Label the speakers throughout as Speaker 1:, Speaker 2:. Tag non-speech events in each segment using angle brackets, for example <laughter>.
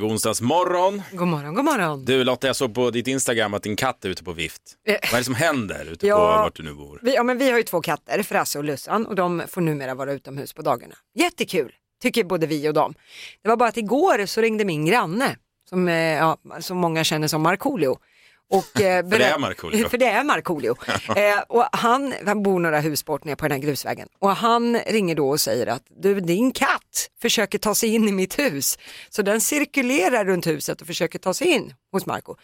Speaker 1: God onsdags morgon.
Speaker 2: God morgon, god morgon.
Speaker 1: Du Lotta, jag såg på ditt Instagram att din katt är ute på vift.
Speaker 2: Eh.
Speaker 1: Vad är det som händer ute på
Speaker 2: Ja.
Speaker 1: vart du nu bor?
Speaker 2: Vi, ja, men vi har ju två katter, Frasse och Lussan, och de får numera vara utomhus på dagarna. Jättekul, tycker både vi och dem. Det var bara att igår så ringde min granne, som, eh, ja, som många känner som Markoolio. Och, eh,
Speaker 1: <laughs> För det
Speaker 2: berä-
Speaker 1: är Markoolio.
Speaker 2: <laughs> För det är Markoolio. eh, och han, han bor några hus bort nere på den här grusvägen. Och han ringer då och säger att du, din katt försöker ta sig in i mitt hus. Så den cirkulerar runt huset och försöker ta sig in hos Marco.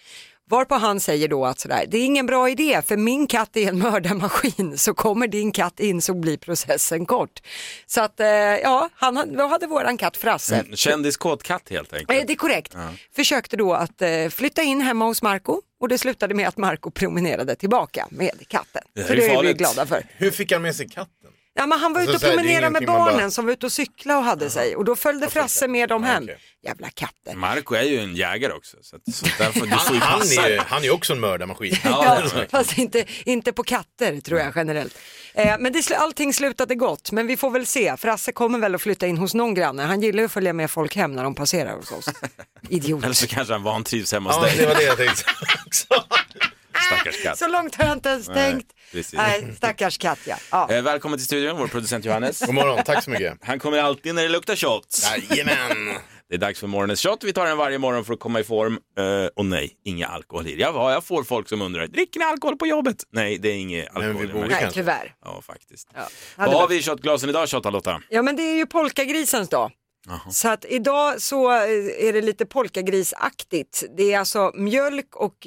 Speaker 2: Varpå han säger då att sådär, det är ingen bra idé för min katt är en <laughs> mördarmaskin så kommer din katt in så blir processen kort. Så att eh, ja, han, hade- då hade våran katt Frasse
Speaker 1: En kändiskåt katt helt enkelt.
Speaker 2: Eh, Det är korrekt. Försökte då att eh, flytta in hemma hos Marco och det slutade med att Marco promenerade tillbaka med katten.
Speaker 1: Det här
Speaker 2: så
Speaker 1: är
Speaker 2: det är vi
Speaker 1: farligt.
Speaker 2: glada för.
Speaker 3: Hur fick han med sig katten?
Speaker 2: Ja, men han var ute och
Speaker 3: så här, det är
Speaker 2: promenerade med
Speaker 3: ingenting man
Speaker 2: barnen
Speaker 3: bara-
Speaker 2: som var ute och cykla och hade sig och då följde Frasse med dem
Speaker 3: Ja,
Speaker 2: hem.
Speaker 3: okej.
Speaker 2: Jävla <laughs> katter.
Speaker 1: Marco är ju en jägare också, så,
Speaker 3: <laughs>
Speaker 1: att, så därför, du får
Speaker 3: Han,
Speaker 1: ju
Speaker 3: han,
Speaker 1: passa
Speaker 3: är, ju-
Speaker 1: dig.
Speaker 3: han är ju också en mördarmaskin.
Speaker 1: Ja,
Speaker 2: Ja, fast inte, inte på katter tror jag generellt. Eh, men det, sl- allting slutade gott, men vi får väl se. Frasse kommer väl att flytta in hos någon granne. Han gillar ju att följa med folk hem när de passerar hos oss. Idiot.
Speaker 1: Eller så kanske han vantrivs hemma hos
Speaker 3: Ja, det
Speaker 1: dig,
Speaker 3: var det jag tänkte också.
Speaker 1: stackars katt.
Speaker 2: Så långt har jag inte ens tänkt.
Speaker 1: precis.
Speaker 2: Nej, stackars katt ja. ja.
Speaker 1: Eh, välkommen till studion, vår producent Johannes.
Speaker 3: God morgon, tack så mycket.
Speaker 1: Han kommer alltid när det luktar shots.
Speaker 3: Jajamän.
Speaker 1: Det är dags för morgonens shot. Vi tar den varje morgon för att komma i form. Eh, och nej, inga alkohol i. Ja, vad jag får folk som undrar, dricker ni alkohol på jobbet? Nej, det är inget
Speaker 3: vi
Speaker 1: alkohol. i den
Speaker 3: borde
Speaker 1: här.
Speaker 2: Nej,
Speaker 3: kanske.
Speaker 2: tyvärr.
Speaker 1: Ja, faktiskt.
Speaker 2: Ja.
Speaker 1: Vad
Speaker 2: Hade
Speaker 1: har
Speaker 2: varit-
Speaker 1: vi i shotglasen idag, Shotta-Lotta?
Speaker 2: ja men det är ju polkagrisens dag. Så att idag så eh, är det lite polkagrisaktigt. Det är alltså mjölk och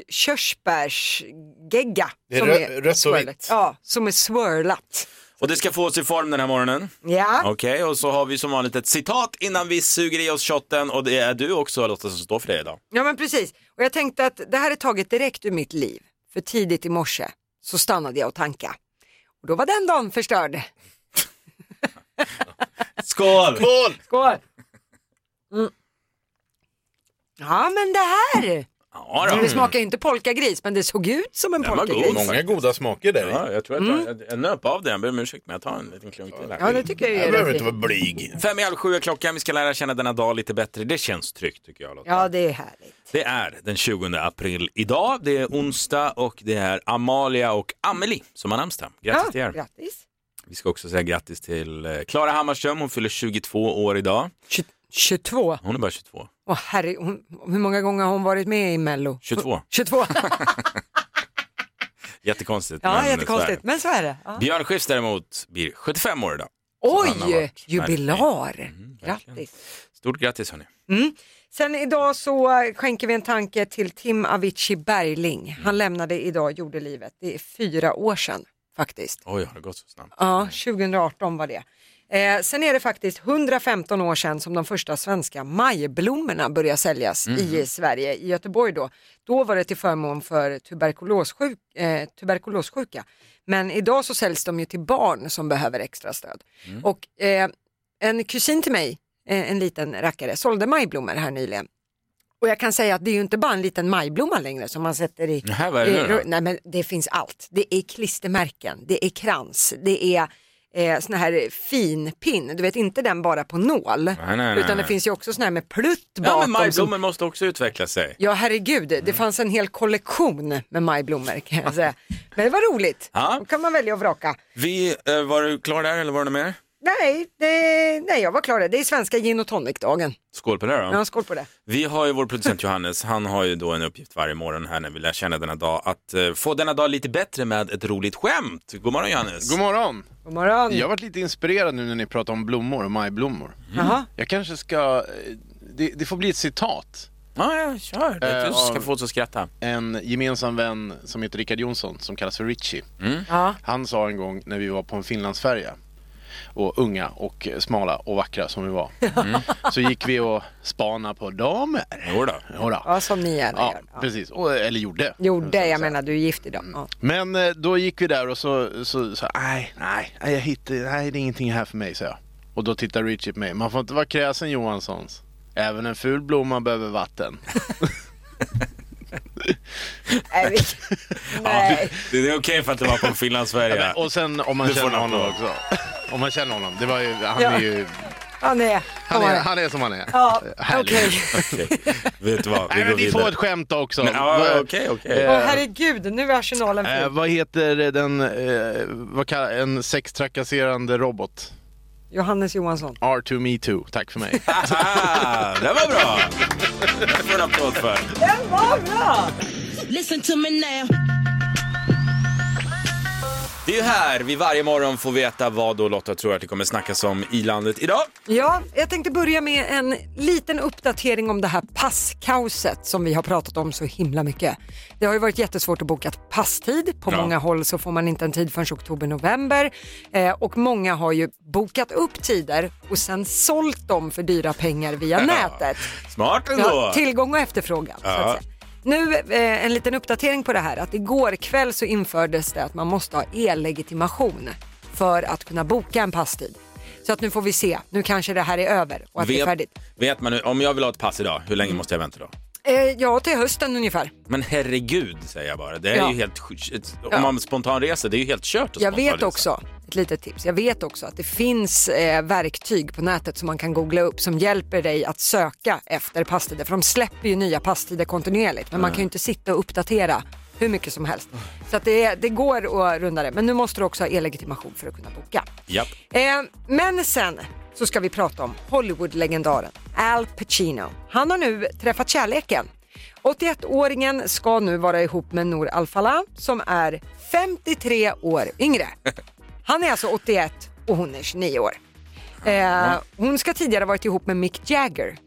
Speaker 2: körsbärsgegga.
Speaker 3: Det är
Speaker 2: som
Speaker 3: rö- rött och
Speaker 2: swirlat.
Speaker 3: vitt.
Speaker 2: Ja, som är swirlat.
Speaker 1: Och det ska få oss i form den här morgonen.
Speaker 2: Ja,
Speaker 1: Okej, och så har vi som vanligt ett citat innan vi suger i oss shotten och det är du också Lotta som står för det idag.
Speaker 2: ja men precis. Och jag tänkte att det här är taget direkt ur mitt liv. För tidigt i morse så stannade jag och tanka. Och då var den dagen förstörd.
Speaker 1: Skål!
Speaker 3: Skål!
Speaker 2: Skål! Mm. Ja men det här!
Speaker 1: Ja,
Speaker 2: Det
Speaker 1: då.
Speaker 2: smakar ju inte polkagris men det såg ut som en
Speaker 1: Den Mm. var god.
Speaker 2: polkagris.
Speaker 3: Många goda smaker där.
Speaker 1: ja
Speaker 3: i.
Speaker 1: jag tror att jag, jag, jag nöp av det, jag ber om ursäkt men jag tar en liten klunk till
Speaker 2: Mm. Ja,
Speaker 1: här.
Speaker 2: det tycker jag
Speaker 3: Jag
Speaker 2: ju är
Speaker 3: behöver
Speaker 2: rätt
Speaker 3: inte
Speaker 2: fint.
Speaker 3: vara blyg.
Speaker 1: Fem i halv sju är klockan, vi ska lära känna denna dag lite bättre. Det känns tryggt tycker jag Lotta.
Speaker 2: Ja, det är härligt.
Speaker 1: Det är den 20 april idag, det är onsdag och det är Amalia och Amelie som har namnsdag. Grattis till
Speaker 2: Ja,
Speaker 1: er!
Speaker 2: grattis.
Speaker 1: Vi ska också säga grattis till eh, Klara Hammarström, hon fyller 22 år idag.
Speaker 2: 22.
Speaker 1: Hon är bara 22.
Speaker 2: Åh herre, hon, hur många gånger har hon varit med i Mello?
Speaker 1: 22.
Speaker 2: 22.
Speaker 1: Jättekonstigt. men
Speaker 2: Ja,
Speaker 1: så är det.
Speaker 2: jättekonstigt. Men så är det. Ja.
Speaker 1: Björn Skifs däremot blir 75 år idag. han har
Speaker 2: Oj,
Speaker 1: varit
Speaker 2: jubilar.
Speaker 1: verkligen.
Speaker 2: Grattis.
Speaker 1: Stort grattis hörni.
Speaker 2: Sen idag så eh, skänker vi en tanke till Tim Avicii Bergling. Han lämnade idag jordelivet. Det är fyra år sedan faktiskt.
Speaker 1: Oj, har det gått så snabbt?
Speaker 2: Ja, 2018 var det. Eh, sen är det faktiskt 115 år sedan som de första svenska majblommorna började säljas i Sverige, i Göteborg då. Då var det till förmån för tuberkulossjuk, eh, tuberkulossjuka. Men idag så säljs de ju till barn som behöver extra stöd. Och eh, en kusin till mig, eh, en liten rackare, sålde majblommor här nyligen. Och jag kan säga att det är ju inte bara en liten majblomma längre som man sätter i
Speaker 1: Nähä, vad är det
Speaker 2: Eh,
Speaker 1: nu då?
Speaker 2: ro- Nej men det finns allt. Det är klistermärken, det är krans, det är eh, sån här finpinn, du vet inte den bara på nål.
Speaker 1: nej, nej,
Speaker 2: utan det
Speaker 1: nej.
Speaker 2: finns ju också sån här med plutt
Speaker 1: Ja, men
Speaker 2: bakom. som-
Speaker 1: majblommen måste också utveckla sig.
Speaker 2: Ja herregud, det
Speaker 1: Mm.
Speaker 2: fanns en hel kollektion med majblommor kan
Speaker 1: <laughs>
Speaker 2: jag säga. Men det var roligt,
Speaker 1: Ja.
Speaker 2: då kan man välja och vraka.
Speaker 1: Vi, eh, var du klar där eller var det något mer?
Speaker 2: Nej, det, nej jag var klar där, det är svenska gin och tonic-dagen.
Speaker 1: Skål på det då.
Speaker 2: Ja, skål på det.
Speaker 1: Vi har ju vår producent Johannes, han har ju då en uppgift varje morgon här när vi lär känna denna dag, att eh, få denna dag lite bättre med ett roligt skämt. God morgon Johannes!
Speaker 4: God morgon!
Speaker 2: God morgon.
Speaker 4: Jag har varit lite inspirerad nu när ni pratar om blommor och majblommor.
Speaker 2: Jaha.
Speaker 4: Jag kanske ska... eh, Det, det får bli ett citat.
Speaker 1: Ja, ja, kör. Du
Speaker 4: Eh,
Speaker 1: ska
Speaker 4: ja.
Speaker 1: få oss att skratta.
Speaker 4: En gemensam vän som heter Rickard Jonsson, som kallas för Richie.
Speaker 1: Mm.
Speaker 2: Ja.
Speaker 4: Han sa en gång när vi var på en Finlandsfärja, och unga och eh, smala och vackra som vi
Speaker 2: <laughs>
Speaker 4: var, mm, så gick vi och spana på damer.
Speaker 1: Jo då.
Speaker 4: Jodå.
Speaker 2: ja, som ni gärna
Speaker 4: Ja,
Speaker 2: gör. Ja.
Speaker 4: precis. Och, eller gjorde.
Speaker 2: Gjorde, jag menar du är gift idag.
Speaker 1: <laughs>
Speaker 2: Ja.
Speaker 4: Men eh, då gick vi där och så så- så, nej, nej, nej, jag hittar, nej, det är ingenting här för mig, sa jag. Och då tittar Richie på mig. Man får inte vara kräsen Johanssons. Även en ful blomma behöver vatten.
Speaker 2: Nej, vi- nej.
Speaker 1: Det det är okej för att det var på Finland-Sverige.
Speaker 4: Och sen om man
Speaker 1: Du får
Speaker 4: känner
Speaker 1: en applåd.
Speaker 4: honom också. Om man känner honom. Det var ju, han
Speaker 2: Ja.
Speaker 4: är ju
Speaker 2: Han är,
Speaker 4: Han är, han är som han är.
Speaker 2: Ja,
Speaker 4: Härlig.
Speaker 2: okej.
Speaker 1: Okej, vet du vad, vi
Speaker 4: Nej,
Speaker 1: går
Speaker 4: men vi får
Speaker 1: vidare.
Speaker 4: ett skämt också.
Speaker 1: Ja,
Speaker 4: Vad-
Speaker 1: Okej, okej.
Speaker 4: Eh,
Speaker 2: Åh herregud, nu är Arsenalen
Speaker 4: eh,
Speaker 2: full.
Speaker 4: vad heter den, eh, vad kallar, en sextrakasserande robot?
Speaker 2: Johannes Johansson.
Speaker 4: R2Me2, tack
Speaker 3: <laughs>
Speaker 4: för mig.
Speaker 1: Ah, det var bra! Det får en applåd för.
Speaker 2: Den var bra!
Speaker 5: Listen to me now.
Speaker 1: Det är ju här vi varje morgon får veta vad då Lotta tror att det kommer snackas om i landet idag.
Speaker 2: Ja, jag tänkte börja med en liten uppdatering om det här passkaoset som vi har pratat om så himla mycket. Det har ju varit jättesvårt att boka ett passtid. På
Speaker 1: Ja.
Speaker 2: många håll så får man inte en tid förrän oktober-november eh, och många har ju bokat upp tider och sen sålt dem för dyra pengar via nätet.
Speaker 1: Smart ändå!
Speaker 2: Ja, tillgång och efterfrågan. Så
Speaker 1: Ja.
Speaker 2: att säga. Nu eh, en liten uppdatering på det här att igår kväll så infördes det att man måste ha e-legitimation för att kunna boka en passtid. Så att nu får vi se, nu kanske det här är över och att det är
Speaker 1: vet,
Speaker 2: färdigt.
Speaker 1: vet man nu, om jag vill ha ett pass idag, hur länge måste jag vänta då?
Speaker 2: Eh, ja, till hösten ungefär.
Speaker 1: Men herregud säger jag bara, det här är
Speaker 2: Ja.
Speaker 1: ju helt sj- ett-
Speaker 2: Ja.
Speaker 1: Om man spontanreser, det är ju helt kört att
Speaker 2: Jag vet
Speaker 1: spontanresa.
Speaker 2: också, ett litet tips, jag vet också att det finns eh, verktyg på nätet som man kan googla upp som hjälper dig att söka efter passtider. För de släpper ju nya passtider kontinuerligt men man
Speaker 1: Mm.
Speaker 2: kan ju inte sitta och uppdatera hur mycket som helst. Så att det, det går att runda det. Men nu måste du också ha e-legitimation för att kunna boka.
Speaker 1: Japp.
Speaker 2: Eh, men sen så ska vi prata om Hollywood-legendaren Al Pacino. Han har nu träffat kärleken. 81-åringen ska nu vara ihop med Nour Al-Falah som är 53 år yngre. Han är alltså 81 och hon är 29 år. Eh, hon ska tidigare ha varit ihop med Mick Jagger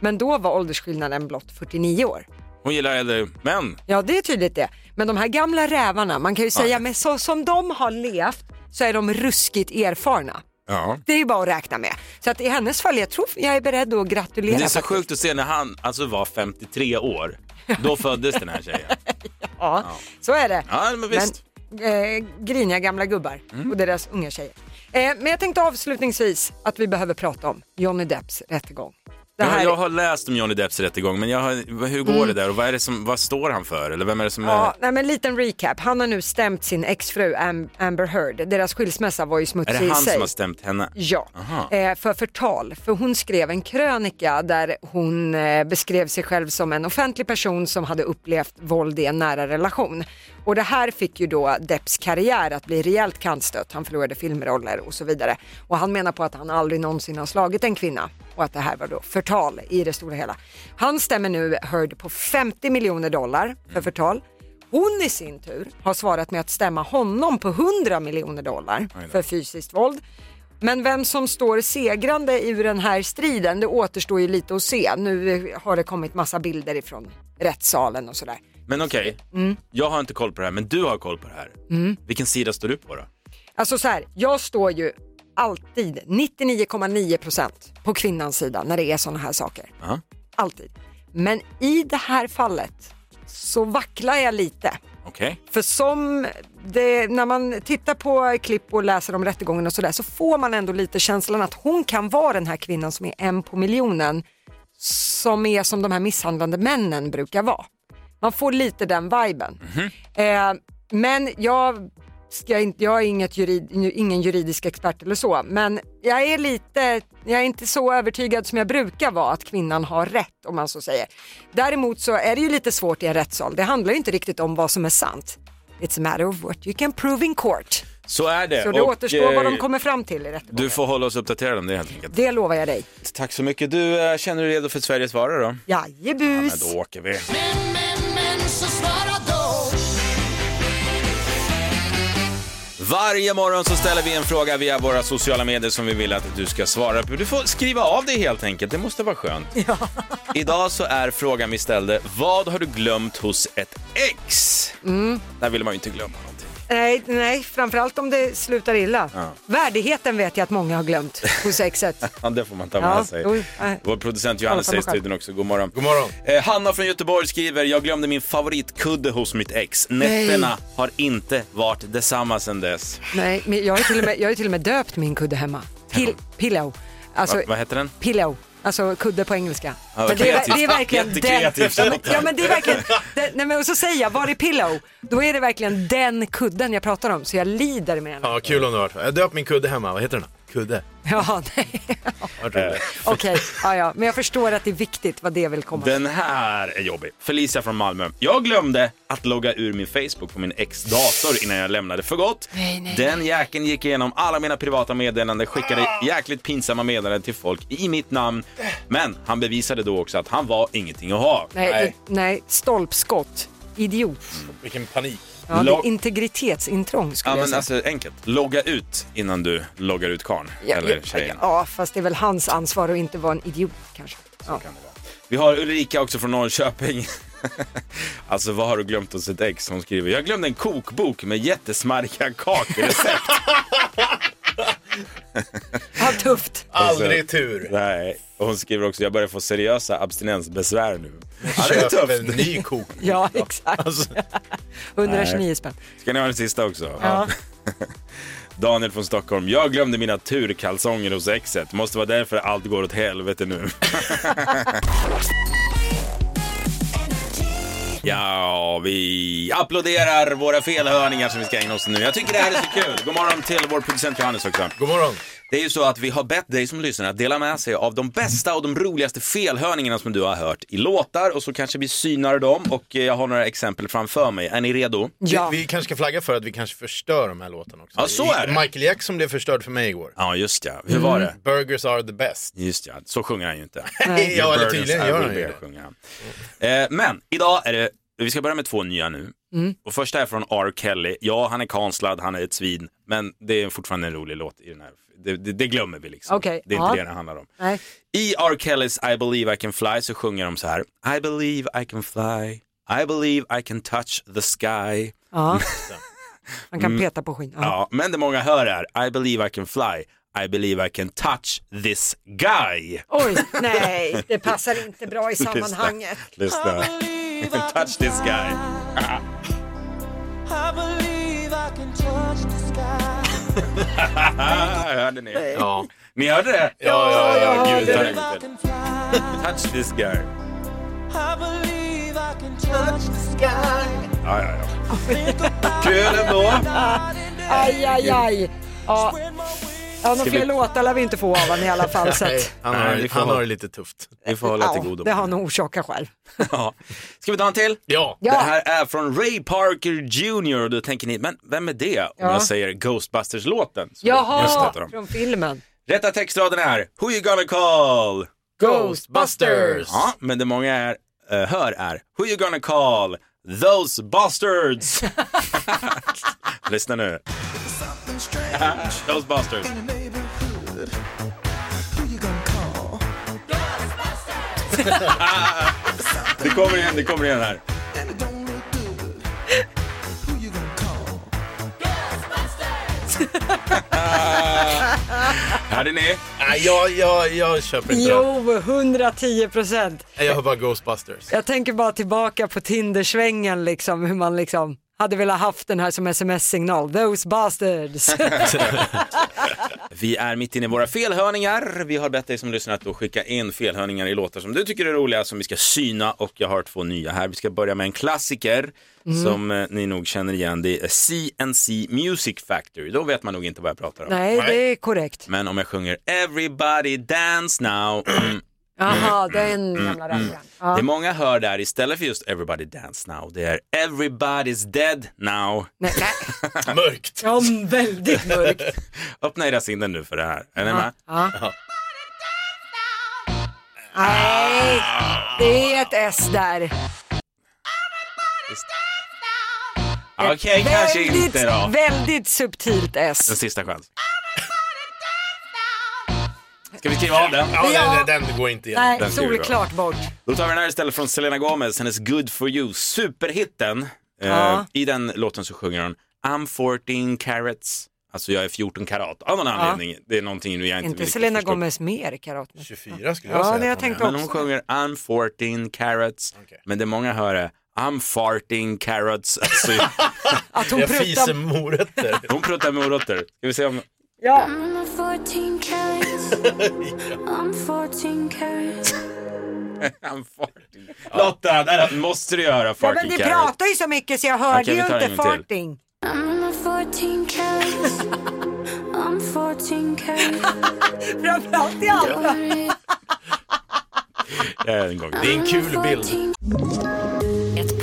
Speaker 2: men då var åldersskillnaden blott 49 år.
Speaker 1: Hon gillar äldre män.
Speaker 2: Ja, det är tydligt det. Men de här gamla rävarna, man kan ju säga men så som de har levt så är de ruskigt erfarna.
Speaker 1: Ja.
Speaker 2: Det är ju bara att räkna med. Så att i hennes fall, jag tror jag är beredd att gratulera.
Speaker 1: Men det är så
Speaker 2: faktiskt.
Speaker 1: sjukt att se när han alltså var 53 år. Då föddes den här tjejen.
Speaker 2: Ja, så är det.
Speaker 1: Ja, men visst. Mm.
Speaker 2: Men, eh, griniga gamla gubbar och deras unga tjejer. Eh, men jag tänkte avslutningsvis att vi behöver prata om Johnny Depps rättegång. Det
Speaker 1: Jag,
Speaker 2: här, Mm.
Speaker 1: jag har läst om Johnny Depps rättegång, men jag har, hur går det där och vad, är det som, vad står han för? Eller vem är det som är...
Speaker 2: ja, nej, men liten recap. Han har nu stämt sin exfru Am- Amber Heard. Deras skilsmässa var ju
Speaker 1: Är
Speaker 2: smutsig
Speaker 1: det
Speaker 2: i
Speaker 1: han
Speaker 2: sig.
Speaker 1: som har stämt henne?
Speaker 2: Ja,
Speaker 1: Aha.
Speaker 2: eh, för förtal. För hon skrev en krönika där hon eh, beskrev sig själv som en offentlig person som hade upplevt våld i en nära relation. Och det här fick ju då Depps karriär att bli rejält kantstött. Han förlorade filmroller och så vidare. Och han menar på att han aldrig någonsin har slagit en kvinna och att det här var då förtal i det stora hela. Han stämmer nu Heard på 50 miljoner dollar
Speaker 1: Mm.
Speaker 2: för förtal. Hon i sin tur har svarat med att stämma honom på 100 miljoner dollar
Speaker 1: Aj då.
Speaker 2: för fysiskt våld. Men vem som står segrande ur den här striden, det återstår ju lite att se. Nu har det kommit massa bilder ifrån rättssalen och sådär.
Speaker 1: Men okej,
Speaker 2: Mm.
Speaker 1: jag har inte koll på det här, men du har koll på det här. Vilken sida står du på då?
Speaker 2: Alltså så här, jag står ju alltid 99,9% på kvinnans sida när det är sådana här saker.
Speaker 1: Aha.
Speaker 2: Alltid. Men i det här fallet så vacklar jag lite.
Speaker 1: Okej.
Speaker 2: För som det, när man tittar på klipp och läser om rättegången och sådär så får man ändå lite känslan att hon kan vara den här kvinnan som är en på miljonen som är som de här misshandlande männen brukar vara. Man får lite den viben.
Speaker 1: Mhm.
Speaker 2: Eh, men jag, ska inte, jag är inget jurid, ingen juridisk expert eller så, men jag är lite, jag är inte så övertygad som jag brukar vara att kvinnan har rätt om man så säger. Däremot så är det ju lite svårt i en rättssal. Det handlar ju inte riktigt om vad som är sant. It's a matter of what you can prove in court.
Speaker 1: Så är det.
Speaker 2: Så det
Speaker 1: och,
Speaker 2: återstår vad de
Speaker 1: eh,
Speaker 2: kommer fram till i rättegången.
Speaker 1: Du får hålla oss uppdaterade om det helt enkelt.
Speaker 2: Det lovar jag dig.
Speaker 1: Tack så mycket. Du, eh, känner du dig redo för Sveriges svarar då? Men
Speaker 2: Jajebus!
Speaker 1: då åker vi.
Speaker 5: Men, men, men, så svara då.
Speaker 1: Varje morgon så ställer vi en fråga via våra sociala medier som vi vill att du ska svara på. Du får skriva av det helt enkelt, det måste vara
Speaker 2: <laughs>
Speaker 1: skönt. Idag så är frågan vi ställde, vad har du glömt hos ett ex?
Speaker 2: Mm.
Speaker 1: Där vill man ju inte glömma någonting.
Speaker 2: Nej, nej, framförallt om det slutar illa. Värdigheten vet jag att många har glömt hos exet.
Speaker 1: <laughs> Ja, det får man ta med
Speaker 2: Ja,
Speaker 1: sig.
Speaker 2: oj, nej.
Speaker 1: Vår producent Johannes säger i
Speaker 2: Alla samma skäl.
Speaker 1: studion också, god morgon.
Speaker 3: God morgon.
Speaker 1: Eh, Hanna från Göteborg skriver, jag glömde min favoritkudde hos mitt ex. Nätterna har inte varit detsamma sedan dess.
Speaker 2: nej, men jag har ju till och med, jag har ju till och med döpt min kudde hemma. Pil, pillow. Alltså,
Speaker 1: Va, vad heter den?
Speaker 2: pillow. Alltså kudde på engelska.
Speaker 1: Ja, vad
Speaker 2: men det, är,
Speaker 1: kreativt.
Speaker 2: det är verkligen
Speaker 1: Jättekreativt,
Speaker 2: den.
Speaker 1: Charlotte.
Speaker 2: Ja men det är verkligen, den, nej men och så säger jag, var är pillow? Då är det verkligen den kudden jag pratar om, så jag lider med henne.
Speaker 3: Ja, kul om du har hört. Jag döpt min kudde hemma. Vad heter den? Kudde.
Speaker 2: Ja, <laughs> nej.
Speaker 3: Vad
Speaker 1: Eh,
Speaker 3: roligt.
Speaker 2: Okej, ja, ja. men jag förstår att det är viktigt vad det vill komma.
Speaker 1: Den här är jobbig. Felicia från Malmö. Jag glömde att logga ur min Facebook på min ex-dator innan jag lämnade för gott. Den jäkeln gick igenom alla mina privata meddelanden, skickade jäkligt pinsamma meddelanden till folk i mitt namn. Men han bevisade då också att han var ingenting att ha.
Speaker 2: Nej,
Speaker 3: Nej.
Speaker 2: nej. nej, stolpskott. Idiot.
Speaker 3: Vilken panik.
Speaker 2: Ja, det
Speaker 1: Lag-
Speaker 2: är integritetsintrång skulle
Speaker 1: Ja,
Speaker 2: jag
Speaker 1: men
Speaker 2: säga.
Speaker 1: alltså enkelt. Logga ut innan du loggar ut karn
Speaker 2: ja,
Speaker 1: eller
Speaker 2: ja,
Speaker 1: tjejen.
Speaker 2: Ja, fast det är väl hans ansvar att inte vara en idiot kanske. Ja.
Speaker 1: Vi har Ulrika också från Norrköping. <laughs> alltså vad har du glömt hos ett ex? Hon skriver, jag glömde en kokbok med jättesmarriga kakrecept.
Speaker 3: <laughs>
Speaker 2: Ja, tufft.
Speaker 1: Alltså,
Speaker 3: Aldrig tur.
Speaker 1: Nej, och hon skriver också jag börjar få seriösa abstinensbesvär nu. Ja, det är
Speaker 3: Köp en
Speaker 1: tufft.
Speaker 3: ny
Speaker 1: <laughs>
Speaker 3: kok.
Speaker 2: Ja, exakt.
Speaker 1: Alltså.
Speaker 2: <laughs> 129 spänn.
Speaker 1: Ska ni ha den sista också? Daniel från Stockholm. Jag glömde mina turkalsonger hos exet. Måste vara därför allt går åt helvete nu. Ja, vi applåderar våra felhörningar som vi ska ägna oss åt nu. Jag tycker det här är så kul. God morgon till vår producent Johannes också.
Speaker 3: God morgon.
Speaker 1: Det är ju så att vi har bett dig som lyssnar att dela med sig av de bästa och de roligaste felhörningarna som du har hört i låtar och så kanske vi synar dem och eh, jag har några exempel framför mig. Är ni redo?
Speaker 2: Ja.
Speaker 3: Vi, vi kanske ska flagga för att vi kanske förstör de här låtarna också.
Speaker 1: Ja, så är det.
Speaker 3: Michael Jackson blev förstörd för mig igår.
Speaker 1: Ja, just ja. Hur var det?
Speaker 3: Burgers are the best.
Speaker 1: Just ja, så sjunger han ju inte. <laughs>
Speaker 3: <laughs> ja, eller
Speaker 1: Burdens
Speaker 3: tydligen
Speaker 1: I
Speaker 3: gör
Speaker 1: will
Speaker 3: han ju
Speaker 1: bear
Speaker 3: det.
Speaker 1: sjunger han. Eh, men idag är det, vi ska börja med två nya nu.
Speaker 3: Mm.
Speaker 1: Och första är från R. Kelly. Ja, han är kanslad, han är ett svin, men det är fortfarande en rolig låt i den här. Det, det, det glömmer vi liksom.
Speaker 2: Okej,
Speaker 1: det är inte
Speaker 2: ja.
Speaker 1: det det handlar om.
Speaker 2: Nej.
Speaker 1: I R. Kellys I believe I can fly så sjunger de så här. I believe I can fly. I believe I can touch the sky.
Speaker 2: Ja. Man kan peta på skinn. Ja.
Speaker 1: Mm. Ja, men det många hör är I believe I can fly. I believe I can touch this guy.
Speaker 2: Oj, nej, det passar
Speaker 1: <laughs>
Speaker 2: inte bra i sammanhanget.
Speaker 1: Lyssna. <laughs> touch this guy. <laughs> hörde ni?
Speaker 4: Ja.
Speaker 1: Ni hörde det?
Speaker 3: Ja, ja, ja,
Speaker 2: ja,
Speaker 1: Gud,
Speaker 2: det-
Speaker 1: tack. Touch this guy. Ja, ja, ja. Kul ändå.
Speaker 2: Aj, aj, aj. Ja, ja några
Speaker 1: Ska
Speaker 2: fler
Speaker 1: vi-
Speaker 2: låtar lär vi inte få av honom i alla fall. Så att,
Speaker 3: Han har,
Speaker 1: Nej, vi får
Speaker 3: han
Speaker 1: ha-
Speaker 3: har det lite tufft.
Speaker 1: Vi får hålla till
Speaker 2: ja,
Speaker 1: godo.
Speaker 2: det har han nog orsakat själv.
Speaker 1: Ja. Ska vi ta en till?
Speaker 3: Ja.
Speaker 2: Ja.
Speaker 1: Det här är från Ray Parker Jr. Och då tänker ni, men vem är det? Om
Speaker 2: Ja.
Speaker 1: jag säger Ghostbusters-låten. som vi just
Speaker 2: Jaha,
Speaker 1: pratade om.
Speaker 2: från filmen.
Speaker 1: Rätta textraden är Who you gonna call?
Speaker 3: Ghostbusters!
Speaker 1: Ja, men det många är, eh, hör är Who you gonna call? Those bastards! Lyssna nu. Those bastards. <laughs> det kommer igen, det kommer igen här. Hörde ni?
Speaker 3: Nej, jag, jag, jag köper inte det.
Speaker 2: Jo, 110 procent.
Speaker 3: Nej, Jag hör bara Ghostbusters.
Speaker 2: Jag tänker bara tillbaka på Tindersvängen, liksom, hur man liksom hade velat haft den här som sms-signal. Those <laughs> bastards.
Speaker 1: Vi är mitt inne i våra felhörningar. Vi har bett dig som lyssnar att då skicka in felhörningar i låtar som du tycker är roliga som vi ska syna och jag har två nya här. Vi ska börja med en klassiker
Speaker 2: Mm.
Speaker 1: som eh, ni nog känner igen. Det är CNC Music Factory. Då vet man nog inte vad jag pratar om.
Speaker 2: Nej, det är korrekt.
Speaker 1: Men om jag sjunger Everybody Dance Now. <clears throat> Mm,
Speaker 2: Jaha, den gamla rackaren. Ja.
Speaker 1: Det många hör där istället för just Everybody Dance Now. Det är Everybody's Dead Now.
Speaker 2: <laughs> Nej, nej.
Speaker 3: Mörkt.
Speaker 2: Ja, väldigt mörkt.
Speaker 1: Öppna era sinnen nu för det här. Är ni med?
Speaker 2: Ja. Nej, det är ett S där.
Speaker 1: Okej, kanske
Speaker 2: väldigt,
Speaker 1: inte då.
Speaker 2: väldigt subtilt
Speaker 1: En
Speaker 2: S.
Speaker 1: sista chans. Ska vi skriva av den?
Speaker 3: Ja,
Speaker 2: Ja.
Speaker 3: Den, den går inte igenom.
Speaker 2: Nej,
Speaker 1: Den skriver vi av.
Speaker 2: solklart bort.
Speaker 1: Då tar vi den här istället från Selena Gomez, hennes Good for you, superhitten. Eh,
Speaker 2: Ja.
Speaker 1: I den låten så sjunger hon I'm 14 carats, alltså jag är 14 karat av någon anledning. Det är någonting jag inte
Speaker 2: Inte
Speaker 1: riktigt
Speaker 2: Selena
Speaker 1: förstår.
Speaker 2: Gomez mer karat.
Speaker 3: 24 skulle jag
Speaker 2: Ja,
Speaker 3: säga.
Speaker 2: det jag
Speaker 3: att den
Speaker 2: tänkte
Speaker 1: Men hon
Speaker 2: också.
Speaker 1: sjunger I'm 14 carats,
Speaker 3: Okej.
Speaker 1: men det många hör är I'm farting carats. <laughs> Alltså,
Speaker 2: Att hon
Speaker 3: är. Jag fiser
Speaker 2: pruttar.
Speaker 3: morötter.
Speaker 1: hon pruttar morötter. Ska vi se om...
Speaker 2: Ja.
Speaker 6: I'm a 14 carats. I'm 14 carats.
Speaker 1: I'm farting. Lotta, där måste du göra
Speaker 2: Ja,
Speaker 1: farting
Speaker 2: men ni
Speaker 1: carats.
Speaker 2: pratar ju så mycket så jag hörde
Speaker 1: Okej, vi
Speaker 2: ju
Speaker 1: tar en
Speaker 2: inte
Speaker 1: gång till.
Speaker 2: farting.
Speaker 6: I'm a 14 carats. I'm 14 karat.
Speaker 2: Framförallt i allt.
Speaker 1: Eh, En gång.
Speaker 3: Det är en kul bild.
Speaker 7: Ett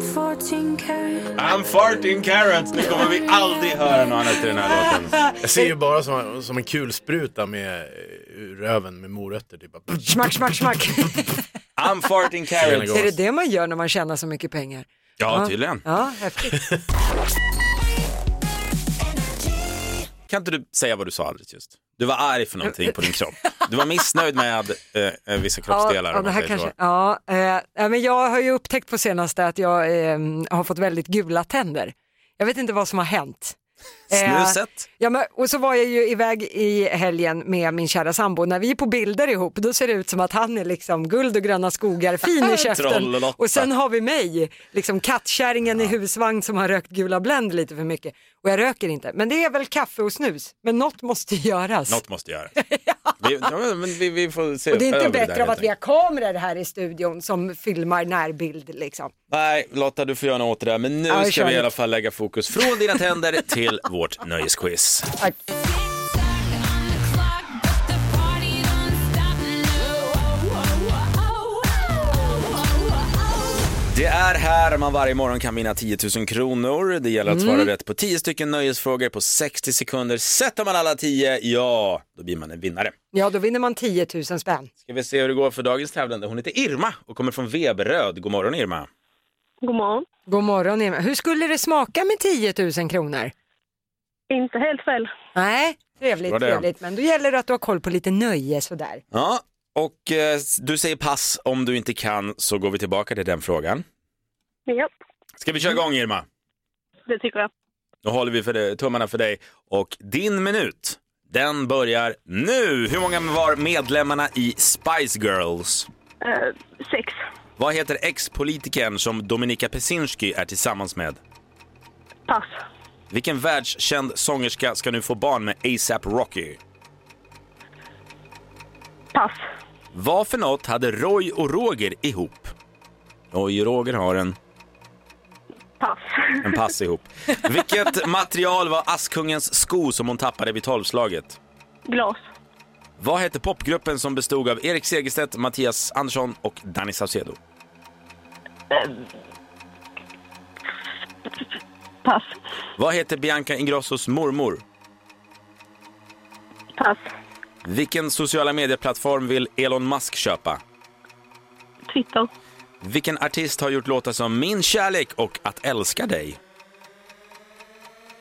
Speaker 6: 14
Speaker 1: <laughs>
Speaker 6: karat.
Speaker 1: I'm farting carrots. Nu kommer vi aldrig höra något annat i den här låten.
Speaker 3: Jag ser ju bara som, som en kulspruta med eh, ur röven med morötter. Typ. bara-
Speaker 2: Smack, smack,
Speaker 1: <laughs>
Speaker 2: smack.
Speaker 1: I'm farting carrots.
Speaker 2: Är det det man gör när man tjänar så mycket pengar?
Speaker 1: Ja, tydligen.
Speaker 2: Ja, häftigt.
Speaker 1: Kan inte du säga vad du sa alldeles just? Du var arg för någonting på din kropp. Du var missnöjd med eh, eh, vissa
Speaker 2: Ja,
Speaker 1: kroppsdelar.
Speaker 2: ja,
Speaker 1: om
Speaker 2: det
Speaker 1: man
Speaker 2: här
Speaker 1: säger så.
Speaker 2: kanske, ja, eh, ja, men jag har ju upptäckt på senaste att jag eh, har fått väldigt gula tänder. Jag vet inte vad som har hänt. Eh,
Speaker 1: Snuset?
Speaker 2: Ja, men, och så var jag ju iväg i helgen med min kära sambo. När vi är på bilder ihop då ser det ut som att han är liksom guld och gröna skogar, fin i käften.
Speaker 1: Trollelotta.
Speaker 2: och sen har vi mig, liksom kattkärringen i husvagn som har rökt gula Blend lite för mycket. Och jag röker inte. Men det är väl kaffe och snus. Men något måste göras. <laughs>
Speaker 1: Något måste göras. Vi, ja, men vi, vi får se
Speaker 2: Och det är inte
Speaker 1: över där,
Speaker 2: bättre av
Speaker 1: helt
Speaker 2: att vi har kameror här i studion som filmar närbild liksom.
Speaker 1: Nej, Lotta, du får göra något åt det där. Men nu
Speaker 2: Ja, vi
Speaker 1: ska
Speaker 2: kör
Speaker 1: vi i
Speaker 2: lite.
Speaker 1: alla fall lägga fokus från dina tänder till vårt nöjesquiz. Det är här man varje morgon kan vinna 10 000 kronor. Det gäller att svara rätt på 10 stycken nöjesfrågor på 60 sekunder. Sätter man alla 10, ja, då blir man en vinnare.
Speaker 2: Ja, då vinner man 10 000 spänn.
Speaker 1: Ska vi se hur det går för dagens tävlande. Hon heter Irma och kommer från Veberöd. God morgon Irma.
Speaker 8: God morgon.
Speaker 2: God morgon Emil. Hur skulle det smaka med 10 000 kronor?
Speaker 8: Inte helt fel.
Speaker 2: Nej, trevligt,
Speaker 1: Bra det.
Speaker 2: trevligt. Men då gäller det att du har koll på lite nöje sådär.
Speaker 1: Ja, och eh, du säger pass om du inte kan så går vi tillbaka till den frågan.
Speaker 8: Ja,
Speaker 1: Ska vi köra igång Irma?
Speaker 8: det tycker jag.
Speaker 1: Då håller vi för det, tummarna för dig. Och din minut, den börjar nu. Hur många var medlemmarna i Spice Girls?
Speaker 8: Eh, sex.
Speaker 1: Vad heter ex-politikern som Dominika Pesinski är tillsammans med?
Speaker 8: Pass.
Speaker 1: Vilken världskänd sångerska ska nu få barn med ASAP Rocky?
Speaker 8: Pass.
Speaker 1: Vad för något hade Roy och Roger ihop? Roy och Roger har en,
Speaker 8: Pass.
Speaker 1: en pass ihop. Vilket material var Askungens sko som hon tappade vid tolvslaget?
Speaker 8: Glas.
Speaker 1: Vad hette popgruppen som bestod av Erik Segerstedt, Mattias Andersson och Danny Saucedo?
Speaker 8: Pass.
Speaker 1: Vad heter Bianca Ingrossos mormor?
Speaker 8: Pass.
Speaker 1: Vilken sociala medieplattform vill Elon Musk köpa?
Speaker 8: Twitter.
Speaker 1: Vilken artist har gjort låtar som Min kärlek och Att älska dig?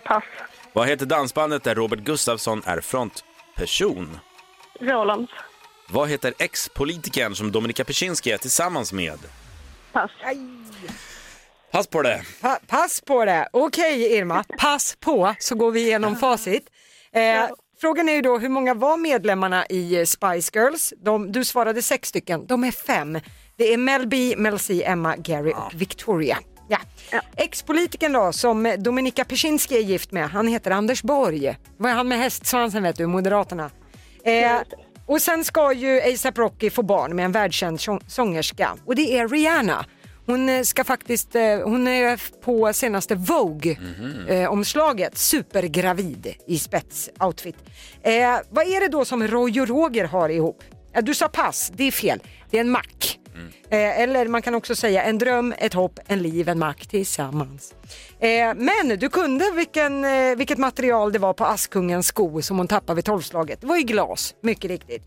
Speaker 8: Pass.
Speaker 1: Vad heter dansbandet där Robert Gustafsson är frontperson?
Speaker 8: Roland.
Speaker 1: Vad heter ex-politikern som Dominika Peczynski är tillsammans med?
Speaker 8: Pass.
Speaker 1: Pass på det!
Speaker 2: Pa- pass på det. Okej Irma, pass på så går vi igenom facit. Eh, frågan är ju då hur många var medlemmarna i eh, Spice Girls? De, du svarade sex stycken, de är fem. Det är Mel B, Mel C, Emma, Gary och Victoria. Ja. Ex-politikern då, som Dominika Peczynski är gift med, han heter Anders Borg. Var han med hästsvansen vet du, Moderaterna. Eh, och sen ska ju ASAP Rocky få barn med en världskänd sång- sångerska och det är Rihanna. Hon eh, ska faktiskt, eh, hon är på senaste Vogue-omslaget, supergravid i spetsoutfit. Eh, vad är det då som Roy och Roger har ihop? Ja, du sa pass, det är fel. Det är en mack. Eh, eller man kan också säga en dröm, ett hopp, en liv, en mack tillsammans. Eh, men du kunde vilken, eh, vilket material det var på Askungens sko som hon tappade vid tolvslaget. Det var ju glas, mycket riktigt.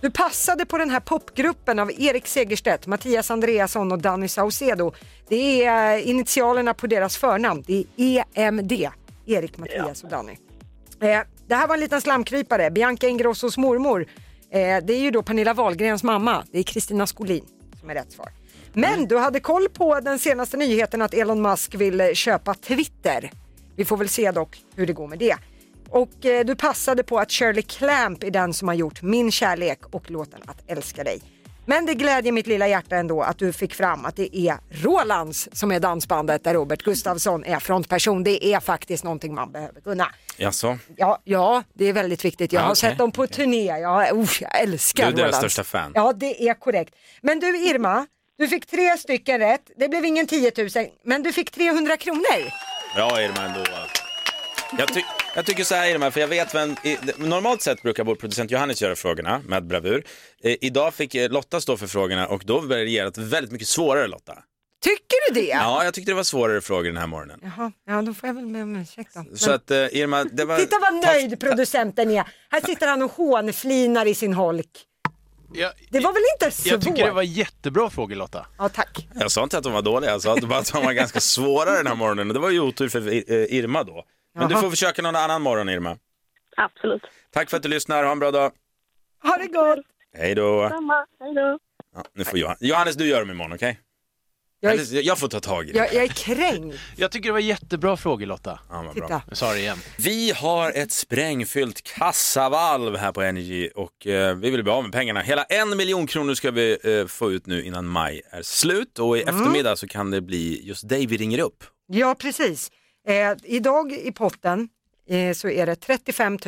Speaker 2: Du passade på den här popgruppen av Erik Segerstedt, Mattias Andreasson och Danny Saucedo. Det är eh, initialerna på deras förnamn. Det är EMD, Erik, Mattias och Danny. Eh, det här var en liten slamkrypare. Bianca Ingrossos mormor, eh, det är ju då Pernilla Wahlgrens mamma. Det är Kristina Skolin som är rätt svar. Men du hade koll på den senaste nyheten att Elon Musk vill eh, köpa Twitter. Vi får väl se dock hur det går med det. Och eh, du passade på att Shirley Clamp är den som har gjort Min kärlek och låten Att älska dig. Men det glädjer mitt lilla hjärta ändå att du fick fram att det är Rolands som är dansbandet där Robert Gustafsson är frontperson. Det är faktiskt någonting man behöver kunna.
Speaker 1: Jaså?
Speaker 2: Ja, ja det är väldigt viktigt. Jag
Speaker 1: Ah,
Speaker 2: har
Speaker 1: okej.
Speaker 2: sett dem på turné. Jag, oh, jag älskar
Speaker 1: Du är deras
Speaker 2: Rolands.
Speaker 1: största fan.
Speaker 2: Ja, det är korrekt. Men du Irma, du fick tre stycken rätt. Det blev ingen 10 000, men du fick 300 kronor.
Speaker 1: Bra Irma ändå. Jag, ty- jag tycker så här Irma, för jag vet vem, i, normalt sett brukar vår producent Johannes göra frågorna med bravur. Eh, idag fick eh, Lotta stå för frågorna och då varierat väldigt mycket svårare Lotta.
Speaker 2: Tycker du det?
Speaker 1: Ja, jag tyckte det var svårare frågor den här morgonen.
Speaker 2: Jaha, ja då får jag väl be om ursäkt då.
Speaker 1: Så
Speaker 2: Men-
Speaker 1: att eh, Irma, det var...
Speaker 2: Titta vad nöjd producenten är. Här sitter han och hånflinar i sin holk.
Speaker 4: Jag,
Speaker 2: Det var väl inte svårt?
Speaker 4: jag tycker det var jättebra frågor Lotta.
Speaker 2: Ja tack.
Speaker 1: Jag sa inte att de var dåliga, jag sa att- bara att de var ganska svåra den här morgonen. Och Det var ju otur för eh, Irma då. Men du
Speaker 2: Jaha.
Speaker 1: får försöka någon annan morgon Irma.
Speaker 8: Absolut.
Speaker 1: Tack för att du lyssnar, ha en bra dag.
Speaker 2: Ha det gott.
Speaker 1: Hej då.
Speaker 8: Samma. Hej då.
Speaker 1: Ja, nu får Johan... Johannes, du gör dem imorgon, okej?
Speaker 2: Jag är-
Speaker 1: Eller, Jag, får ta tag i det.
Speaker 2: Jag, jag är kränkt.
Speaker 4: Jag tycker det var jättebra frågor Lotta.
Speaker 1: Ja, vad
Speaker 2: Titta.
Speaker 1: bra.
Speaker 4: Jag sa det igen.
Speaker 1: Vi har ett sprängfyllt kassavalv här på Energy och eh, vi vill bli av med pengarna. Hela en miljon kronor ska vi eh, få ut nu innan maj är slut och i
Speaker 2: Mm.
Speaker 1: eftermiddag så kan det bli just dig vi ringer upp.
Speaker 2: Ja precis. Eh, idag i potten eh, så är det 35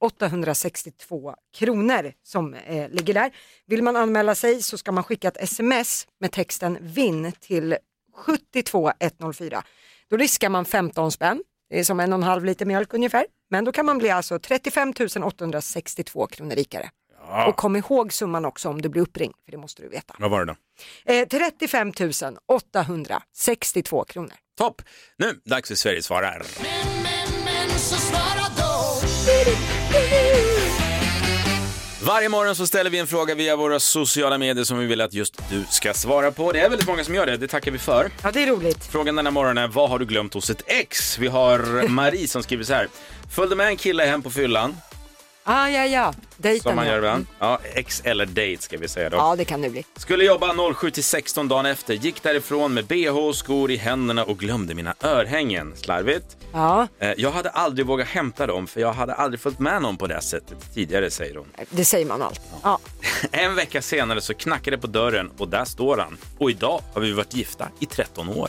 Speaker 2: 862 kronor som eh, ligger där. Vill man anmäla sig så ska man skicka ett sms med texten VINN till 72104. Då riskar man 15 spänn. Det är som en och en halv liter mjölk ungefär. Men då kan man bli alltså 35 862 kronor rikare. Och kom ihåg summan också om du blir uppringd, för det måste du veta.
Speaker 1: Vad var det då?
Speaker 2: Eh, 35 862 kronor.
Speaker 1: Topp! Nu, dags för Sverige svarar.
Speaker 5: Men så svara då.
Speaker 1: Varje morgon så ställer vi en fråga via våra sociala medier som vi vill att just du ska svara på. Det är väldigt många som gör det, det tackar vi för.
Speaker 2: Ja, det är roligt.
Speaker 1: Frågan denna morgon är vad har du glömt hos ett ex? Vi har Marie som skriver så här. Följde med en kille hem på fyllan,
Speaker 2: Ah, ja, ja. Dejten.
Speaker 1: som man
Speaker 2: ja. Mm.
Speaker 1: gör ibland. Ja, ex eller date ska vi säga då.
Speaker 2: Ja, det kan det bli.
Speaker 1: Skulle jobba 07 till 16 dagen efter, gick därifrån med bh och skor i händerna och glömde mina örhängen. Slarvigt.
Speaker 2: Ja,
Speaker 1: Eh, Jag hade aldrig vågat hämta dem för jag hade aldrig följt med någon på det här sättet tidigare, säger hon.
Speaker 2: det säger man alltid. Ja.
Speaker 1: <laughs> En vecka senare så knackade det på dörren och där står han. Och idag har vi varit gifta i 13 år.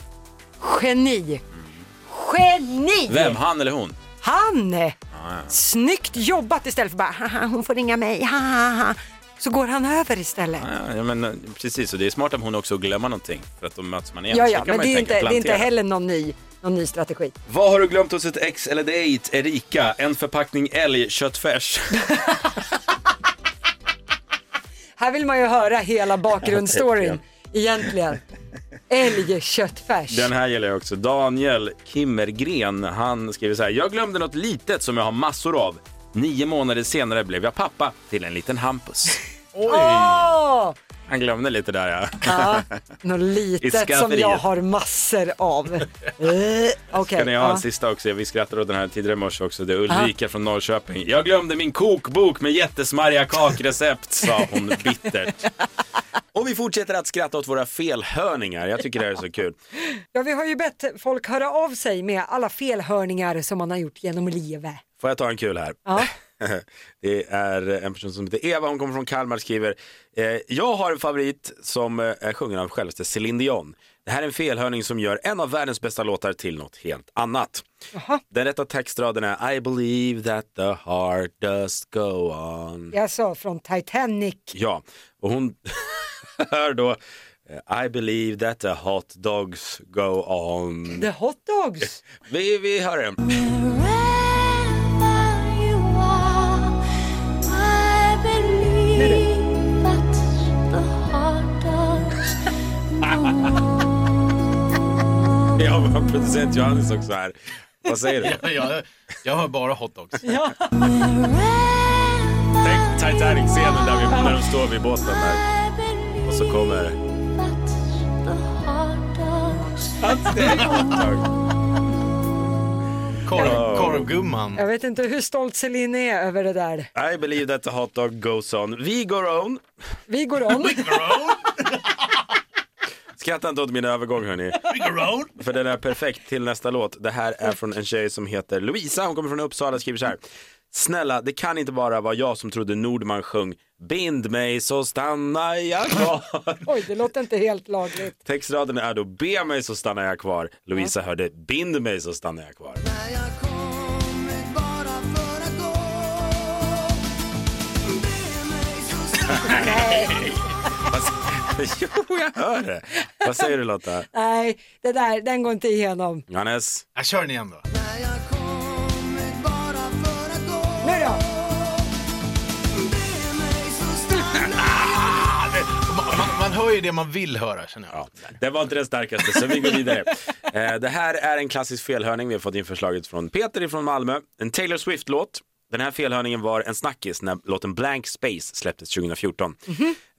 Speaker 2: Geni. Geni!
Speaker 1: Vem? Ah, Han eller hon?
Speaker 2: Han! Snyggt jobbat istället för bara haha, hon får ringa mig, haha. Så går han över istället.
Speaker 1: Ja, ja, men, eh, precis, och det är smart av hon också att glömma någonting för att då möts man igen.
Speaker 2: Ja,
Speaker 1: Så
Speaker 2: ja,
Speaker 1: kan
Speaker 2: men
Speaker 1: man
Speaker 2: det är,
Speaker 1: helt
Speaker 2: inte, det
Speaker 1: enkelt
Speaker 2: är inte
Speaker 1: plantera.
Speaker 2: heller någon ny, någon ny strategi.
Speaker 1: Vad har du glömt hos ett ex eller dejt, Erika? En förpackning älgköttfärs. <laughs>
Speaker 2: Här vill man ju höra
Speaker 1: <laughs>
Speaker 2: hela bakgrundsstoryn egentligen. Älg, köttfärs.
Speaker 1: Den här gäller också. Daniel Kimmergren, han skriver så här. Jag glömde något litet som jag har massor av. Nio månader senare blev jag pappa till en liten Hampus.
Speaker 2: Åh!
Speaker 1: Han glömde lite där ja. <laughs>
Speaker 2: Ja, något
Speaker 1: I
Speaker 2: litet som
Speaker 1: skafferiet.
Speaker 2: jag har massor
Speaker 1: <laughs>
Speaker 2: av. Eh, Okej.
Speaker 1: Kan jag ha
Speaker 2: ja.
Speaker 1: en sista också? Vi skrattade åt den här tidigare i morse också. Det är Ulrika från Norrköping. Jag glömde min kokbok med jättesmarriga kakrecept, sa hon
Speaker 2: <laughs>
Speaker 1: bittert. Och vi fortsätter att skratta åt våra felhörningar. Jag tycker det här är så kul.
Speaker 2: Ja, vi har ju bett folk höra av sig med alla felhörningar som man har gjort genom livet.
Speaker 1: Får jag ta en kul här?
Speaker 2: Ja.
Speaker 1: <laughs> Det är en person som heter Eva, hon kommer från Kalmar, skriver eh, Jag har en favorit som eh, är sjungen av självaste Céline Dion. Det här är en felhörning som gör en av världens bästa låtar till något helt annat. Den rätta textraden är I believe that the heart does go on.
Speaker 2: Jag sa från Titanic.
Speaker 1: Ja, och hon <laughs> hör då eh, I believe that the hot dogs go on.
Speaker 2: The hot dogs.
Speaker 1: Vi, vi hör den. <laughs> Vi har vår producent Johannes också här. Vad säger du?
Speaker 4: Jag, jag har bara hotdogs.
Speaker 2: Ja.
Speaker 1: Tänk Titanic-scenen där, vi, där de står vid båten där. Och så kommer...
Speaker 4: Korv, korvgumman.
Speaker 2: Jag vet inte hur stolt Celine är över det där.
Speaker 1: I believe that the hot
Speaker 2: <laughs>
Speaker 1: dog goes on. Vi går on.
Speaker 2: Vi går om.
Speaker 1: Skratta inte åt min övergång hörni. För den är perfekt till nästa låt. Det här är från en tjej som heter Louisa. Hon kommer från Uppsala och skriver så här. Snälla, det kan inte bara vara jag som trodde Nordman sjöng Bind mig så stannar jag <laughs> kvar.
Speaker 2: Oj, det låter inte helt lagligt.
Speaker 1: Textraden är då Be mig så stannar jag kvar. Louisa hörde Bind mig så stannar jag <laughs> kvar. Alltså, jo, jag hör det. Vad säger du Lotta?
Speaker 2: Nej, det där, den går inte igenom.
Speaker 1: Johannes?
Speaker 4: Jag kör den igen då.
Speaker 2: Nu då?
Speaker 4: Ah, det, man, man hör ju det man vill höra känner jag.
Speaker 1: Det var inte den starkaste, så vi går vidare. Eh, det här är en klassisk felhörning. Vi har fått in förslaget från Peter från Malmö. En Taylor Swift-låt. Den här felhörningen var en snackis när låten Blank Space släpptes 2014.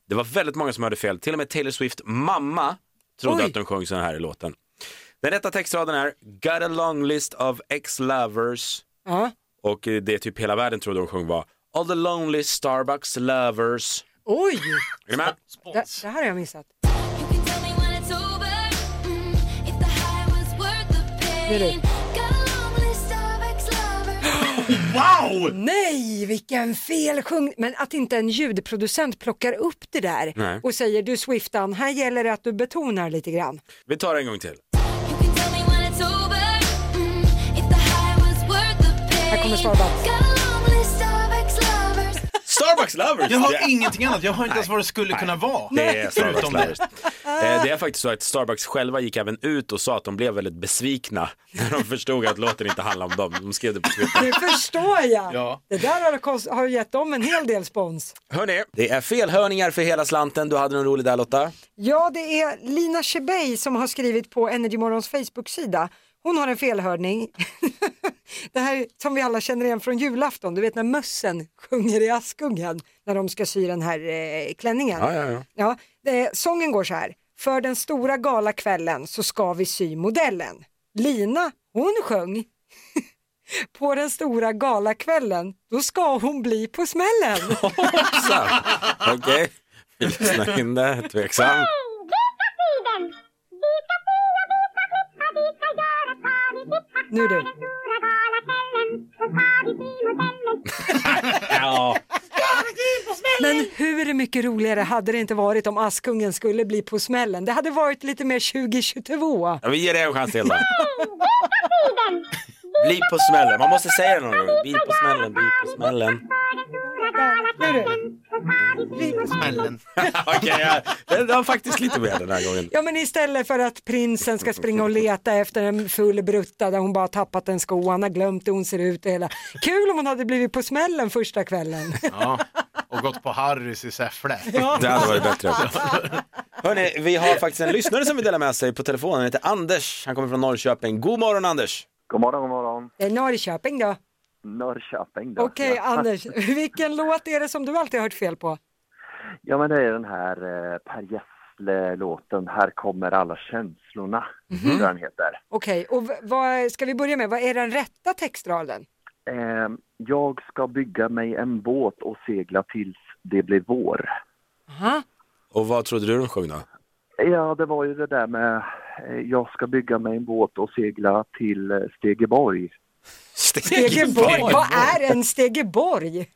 Speaker 1: Det var väldigt många som hörde fel. Till och med Taylor Swift mamma trodde
Speaker 2: Oj.
Speaker 1: att de sjöng så här i låten. Den rätta textraden är Got a long list of ex-lovers
Speaker 2: Ja.
Speaker 1: och eh, det typ hela världen trodde hon sjöng var All the lonely Starbucks lovers.
Speaker 2: Oj,
Speaker 1: Är ni med?
Speaker 2: det, det här har jag missat. Nu du. Nej, vilken felsjung... Men att inte en ljudproducent plockar upp det där
Speaker 1: Nej.
Speaker 2: och säger du Swiftan, här gäller det att du betonar lite grann.
Speaker 1: Vi tar det en gång till.
Speaker 2: Här kommer Starbucks.
Speaker 1: Starbucks lovers!
Speaker 4: Jag
Speaker 1: Det-
Speaker 4: har ingenting annat, jag har inte ens vad det skulle kunna vara.
Speaker 1: Det är Starbucks
Speaker 4: Förutom det.
Speaker 1: Lovers. Eh, Det är faktiskt så att Starbucks själva gick även ut och sa att de blev väldigt besvikna <laughs> när de förstod att låten inte handlade om dem. De skrev det på Twitter.
Speaker 2: Nu förstår jag.
Speaker 4: Ja.
Speaker 2: Det där har, kost- har gett dem en hel del spons.
Speaker 1: Hörni, det är felhörningar för hela slanten. Du hade någon rolig där Lotta.
Speaker 2: Ja, det är Lina Chebey som har skrivit på Energymorgons Facebook-sida. Hon har en felhörning. <laughs> det här som vi alla känner igen från julafton, du vet när mössen sjunger i Askungen när de ska sy den här eh, klänningen.
Speaker 1: Ja, ja, ja.
Speaker 2: det, sången går så här. För den stora galakvällen så ska vi sy modellen. Lina, hon sjöng. <laughs> på den stora galakvällen, då ska hon bli på smällen.
Speaker 1: Hoppsan! Okej, vi lyssnar in det. Tveksam.
Speaker 2: nu du.
Speaker 1: Ja,
Speaker 2: Men hur mycket roligare hade det inte varit om Askungen skulle bli på smällen? Det hade varit lite mer 2022.
Speaker 1: vi ger det en chans till då. Bli på smällen. Man måste säga det någon gång. Bli på smällen, bli på smällen.
Speaker 2: Nu du.
Speaker 4: Smällen.
Speaker 1: <laughs> Okej, ja. det det var faktiskt lite mer den här gången.
Speaker 2: Ja men istället för att prinsen ska springa och leta efter en full brutta där hon bara tappat en sko, han har glömt hur hon ser ut och hela. Kul om hon hade blivit på smällen första kvällen.
Speaker 4: Ja. Och gått på Harrys i Säffle.
Speaker 1: Det hade varit bättre. <laughs> Hörni, vi har faktiskt en lyssnare som vill dela med sig på telefonen. Han heter Anders. Han kommer från Norrköping. God morgon Anders!
Speaker 9: God morgon, god morgon.
Speaker 2: Det är Eh, Norrköping då.
Speaker 9: Norrköping då.
Speaker 2: Okej
Speaker 9: ja.
Speaker 2: Anders, <laughs> vilken låt är det som du alltid har hört fel på?
Speaker 9: ja, men det är den här eh, Per Gessle-låten Här kommer alla känslorna, tror jag den heter.
Speaker 2: Okej, och v- vad ska vi börja med? Vad är den rätta textraden?
Speaker 9: Eh, jag ska bygga mig en båt och segla tills det blir vår.
Speaker 2: Aha.
Speaker 1: Och vad trodde du de sjöng då?
Speaker 9: Ja, det var ju det där med eh, jag ska bygga mig en båt och segla till eh, Stegeborg.
Speaker 2: Stegeborg, vad är en Stegeborg?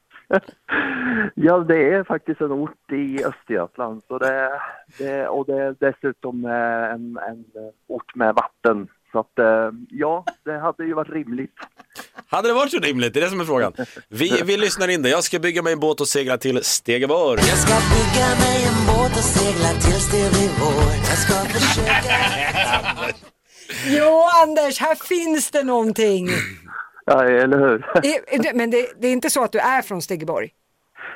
Speaker 9: Ja, det är faktiskt en ort i Östergötland. Så det, det, och det är dessutom eh, en, en ort med vatten. Så att, eh, ja, det hade ju varit rimligt.
Speaker 1: Hade det varit så rimligt? Det är det som är frågan. Vi, vi lyssnar in det. Jag ska bygga mig en båt och segla till Stegeborg.
Speaker 5: Jag ska bygga mig en båt och segla tills det blir vår. Jag ska försöka...
Speaker 2: Jo Anders, här finns det någonting.
Speaker 9: <clears throat> Ja, eller hur?
Speaker 2: I- det- Men det, det <laughs> är inte så att du är från Stegeborg?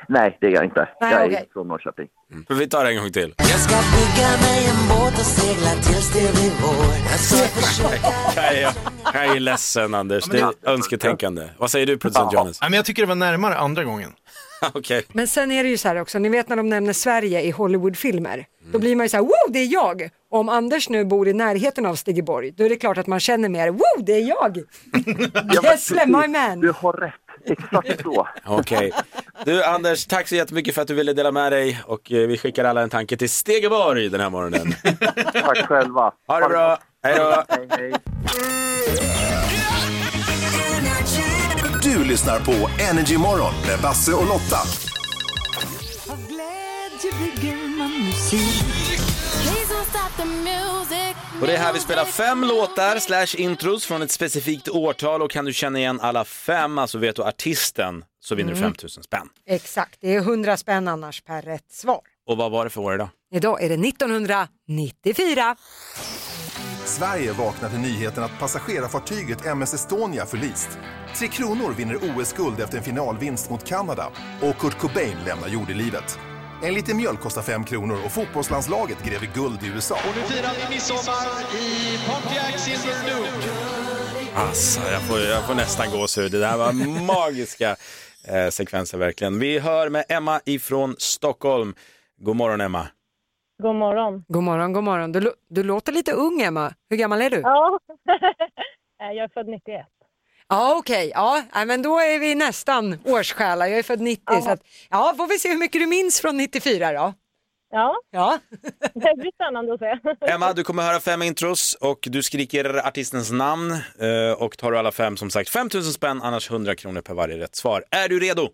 Speaker 9: Nej, det är jag inte.
Speaker 2: Nej,
Speaker 9: jag är
Speaker 2: okej.
Speaker 9: från Norrköping.
Speaker 1: Vi tar det en gång till.
Speaker 5: Jag ska bygga mig en båt och segla tills det blir vår. Alltså, Jag ska försöka...
Speaker 1: Jag är, jag är ledsen Anders. Det är önsketänkande. Vad säger du producent Johannes?
Speaker 4: Nej, men jag tycker det var närmare andra gången.
Speaker 1: <laughs> Okej.
Speaker 2: Men sen är det ju så här också, ni vet när de nämner Sverige i Hollywoodfilmer, då blir man ju så här, wow det är jag! Om Anders nu bor i närheten av Stegeborg, då är det klart att man känner mer, wow det är jag!
Speaker 9: <laughs> Ja, men
Speaker 2: Gessle,
Speaker 9: precis.
Speaker 2: my man!
Speaker 9: Du har rätt. Exakt så.
Speaker 1: Okej. Du Anders, tack så jättemycket för att du ville dela med dig och eh, vi skickar alla en tanke till Stegeborg den här morgonen.
Speaker 9: Tack själva.
Speaker 1: Ha det bra. Hej då.
Speaker 9: Hej, hej.
Speaker 10: Du lyssnar på Energy Morgon med Basse och
Speaker 6: Please
Speaker 10: Lotta.
Speaker 6: don't stop the music.
Speaker 1: Och det är här vi spelar fem låtar slash intros från ett specifikt årtal och kan du känna igen alla fem, alltså vet du artisten, så vinner du
Speaker 2: Mm.
Speaker 1: 5000 spänn.
Speaker 2: Exakt, det är 100 spänn annars per rätt svar.
Speaker 1: Och vad var det för år idag?
Speaker 2: Idag är det 1994.
Speaker 10: Sverige vaknar till nyheten att passagerarfartyget MS Estonia förlist. Tre Kronor vinner OS-guld efter en finalvinst mot Kanada och Kurt Cobain lämnar jordelivet. En liter mjölk kostar 5 kronor och fotbollslandslaget gräver guld i USA.
Speaker 11: Nu firar vi midsommar i Pontiac Silver Duke.
Speaker 1: Alltså, jag får, jag får nästan gåshud. Det <laughs> där var magiska eh, sekvenser verkligen. Vi hör med Emma ifrån Stockholm. God morgon Emma.
Speaker 12: God morgon.
Speaker 2: God morgon, god morgon. Du, lo- du låter lite ung Emma. Hur gammal är du?
Speaker 12: Ja. <laughs> Eh, Jag är född 91.
Speaker 2: Ja okej, ja nej, men då är vi nästan årssjälar. Jag är född 90 så att, ja får vi se hur mycket du minns från 94 då.
Speaker 12: Ja.
Speaker 2: Ja.
Speaker 12: Det blir spännande att se. <laughs>
Speaker 1: Emma, du kommer höra fem intros och du skriker artistens namn eh, och tar du alla fem som sagt 5000 spänn, annars 100 kronor per varje rätt svar. Är du redo?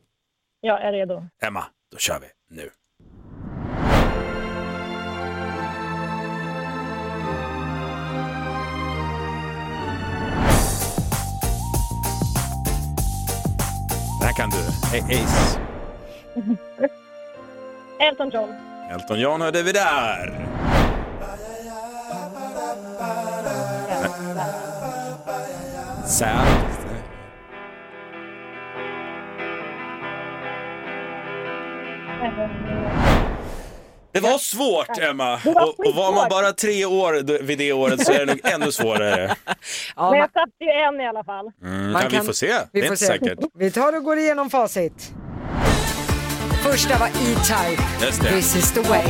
Speaker 12: Jag är redo.
Speaker 1: Emma, då kör vi nu. Det här kan du. A- Ace.
Speaker 12: Elton John.
Speaker 1: Elton John hörde vi där. Sam. Det var svårt, Emma.
Speaker 12: Det var
Speaker 1: Och, och var man bara tre år d- vid det året så är det nog ännu svårare.
Speaker 12: Men jag satt ju en i alla fall.
Speaker 1: Mm,
Speaker 2: Man
Speaker 1: kan... Vi
Speaker 2: kan-
Speaker 1: får se. det
Speaker 2: vi
Speaker 1: är
Speaker 2: får
Speaker 1: inte
Speaker 2: se.
Speaker 1: säkert.
Speaker 2: Vi tar och går igenom facit. Första var E-Type.
Speaker 1: Just det.
Speaker 2: This is the way.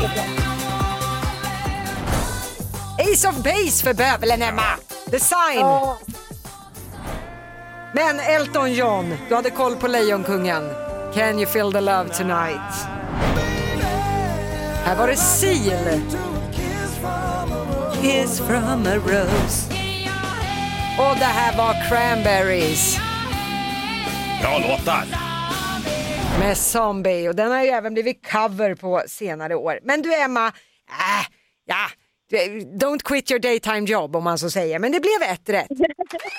Speaker 2: Ace of Base för bövelen Emma. Design. Men Elton John, du hade koll på Lejonkungen. Can you feel the love tonight? Här var det Seal. Kiss from a rose. Och det här var Cranberries
Speaker 1: Bra låtar.
Speaker 2: med Zombie. Och den har ju även blivit cover på senare år. Men du Emma, äh, ja, du- don't quit your daytime job om man så säger. Men det blev ett rätt.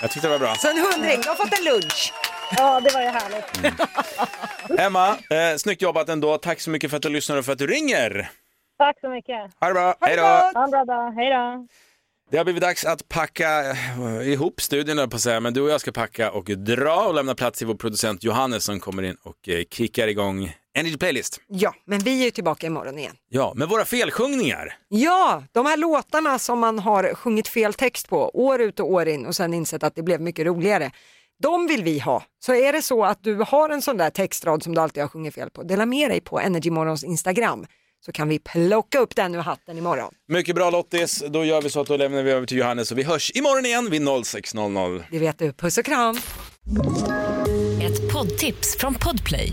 Speaker 1: Jag tyckte det var bra.
Speaker 2: Så en hundring, du har fått en lunch.
Speaker 12: Ja, det var ju härligt.
Speaker 1: Emma, eh, snyggt jobbat ändå. Tack så mycket för att du lyssnar och för att du ringer.
Speaker 12: Tack så mycket.
Speaker 1: Ha det bra. Hej då.
Speaker 12: Ha en bra dag. Hej då.
Speaker 1: Det har blivit dags att packa eh, ihop studion, höll jag på att säga. men du och jag ska packa och dra och lämna plats till vår producent Johannes som kommer in och eh, kickar igång Energy Playlist.
Speaker 2: Ja, men vi är ju tillbaka imorgon igen.
Speaker 1: Ja, med våra felsjungningar.
Speaker 2: Ja, de här låtarna som man har sjungit fel text på år ut och år in och sen insett att det blev mycket roligare. De vill vi ha. Så är det så att du har en sån där textrad som du alltid har sjungit fel på, dela med dig på Energymorgons Instagram så kan vi plocka upp den ur hatten imorgon.
Speaker 1: Mycket bra Lottis, då gör vi så att då lämnar vi över till Johannes och vi hörs imorgon igen vid 06.00.
Speaker 2: Det vet du. Puss och kram!
Speaker 7: Ett poddtips från Podplay.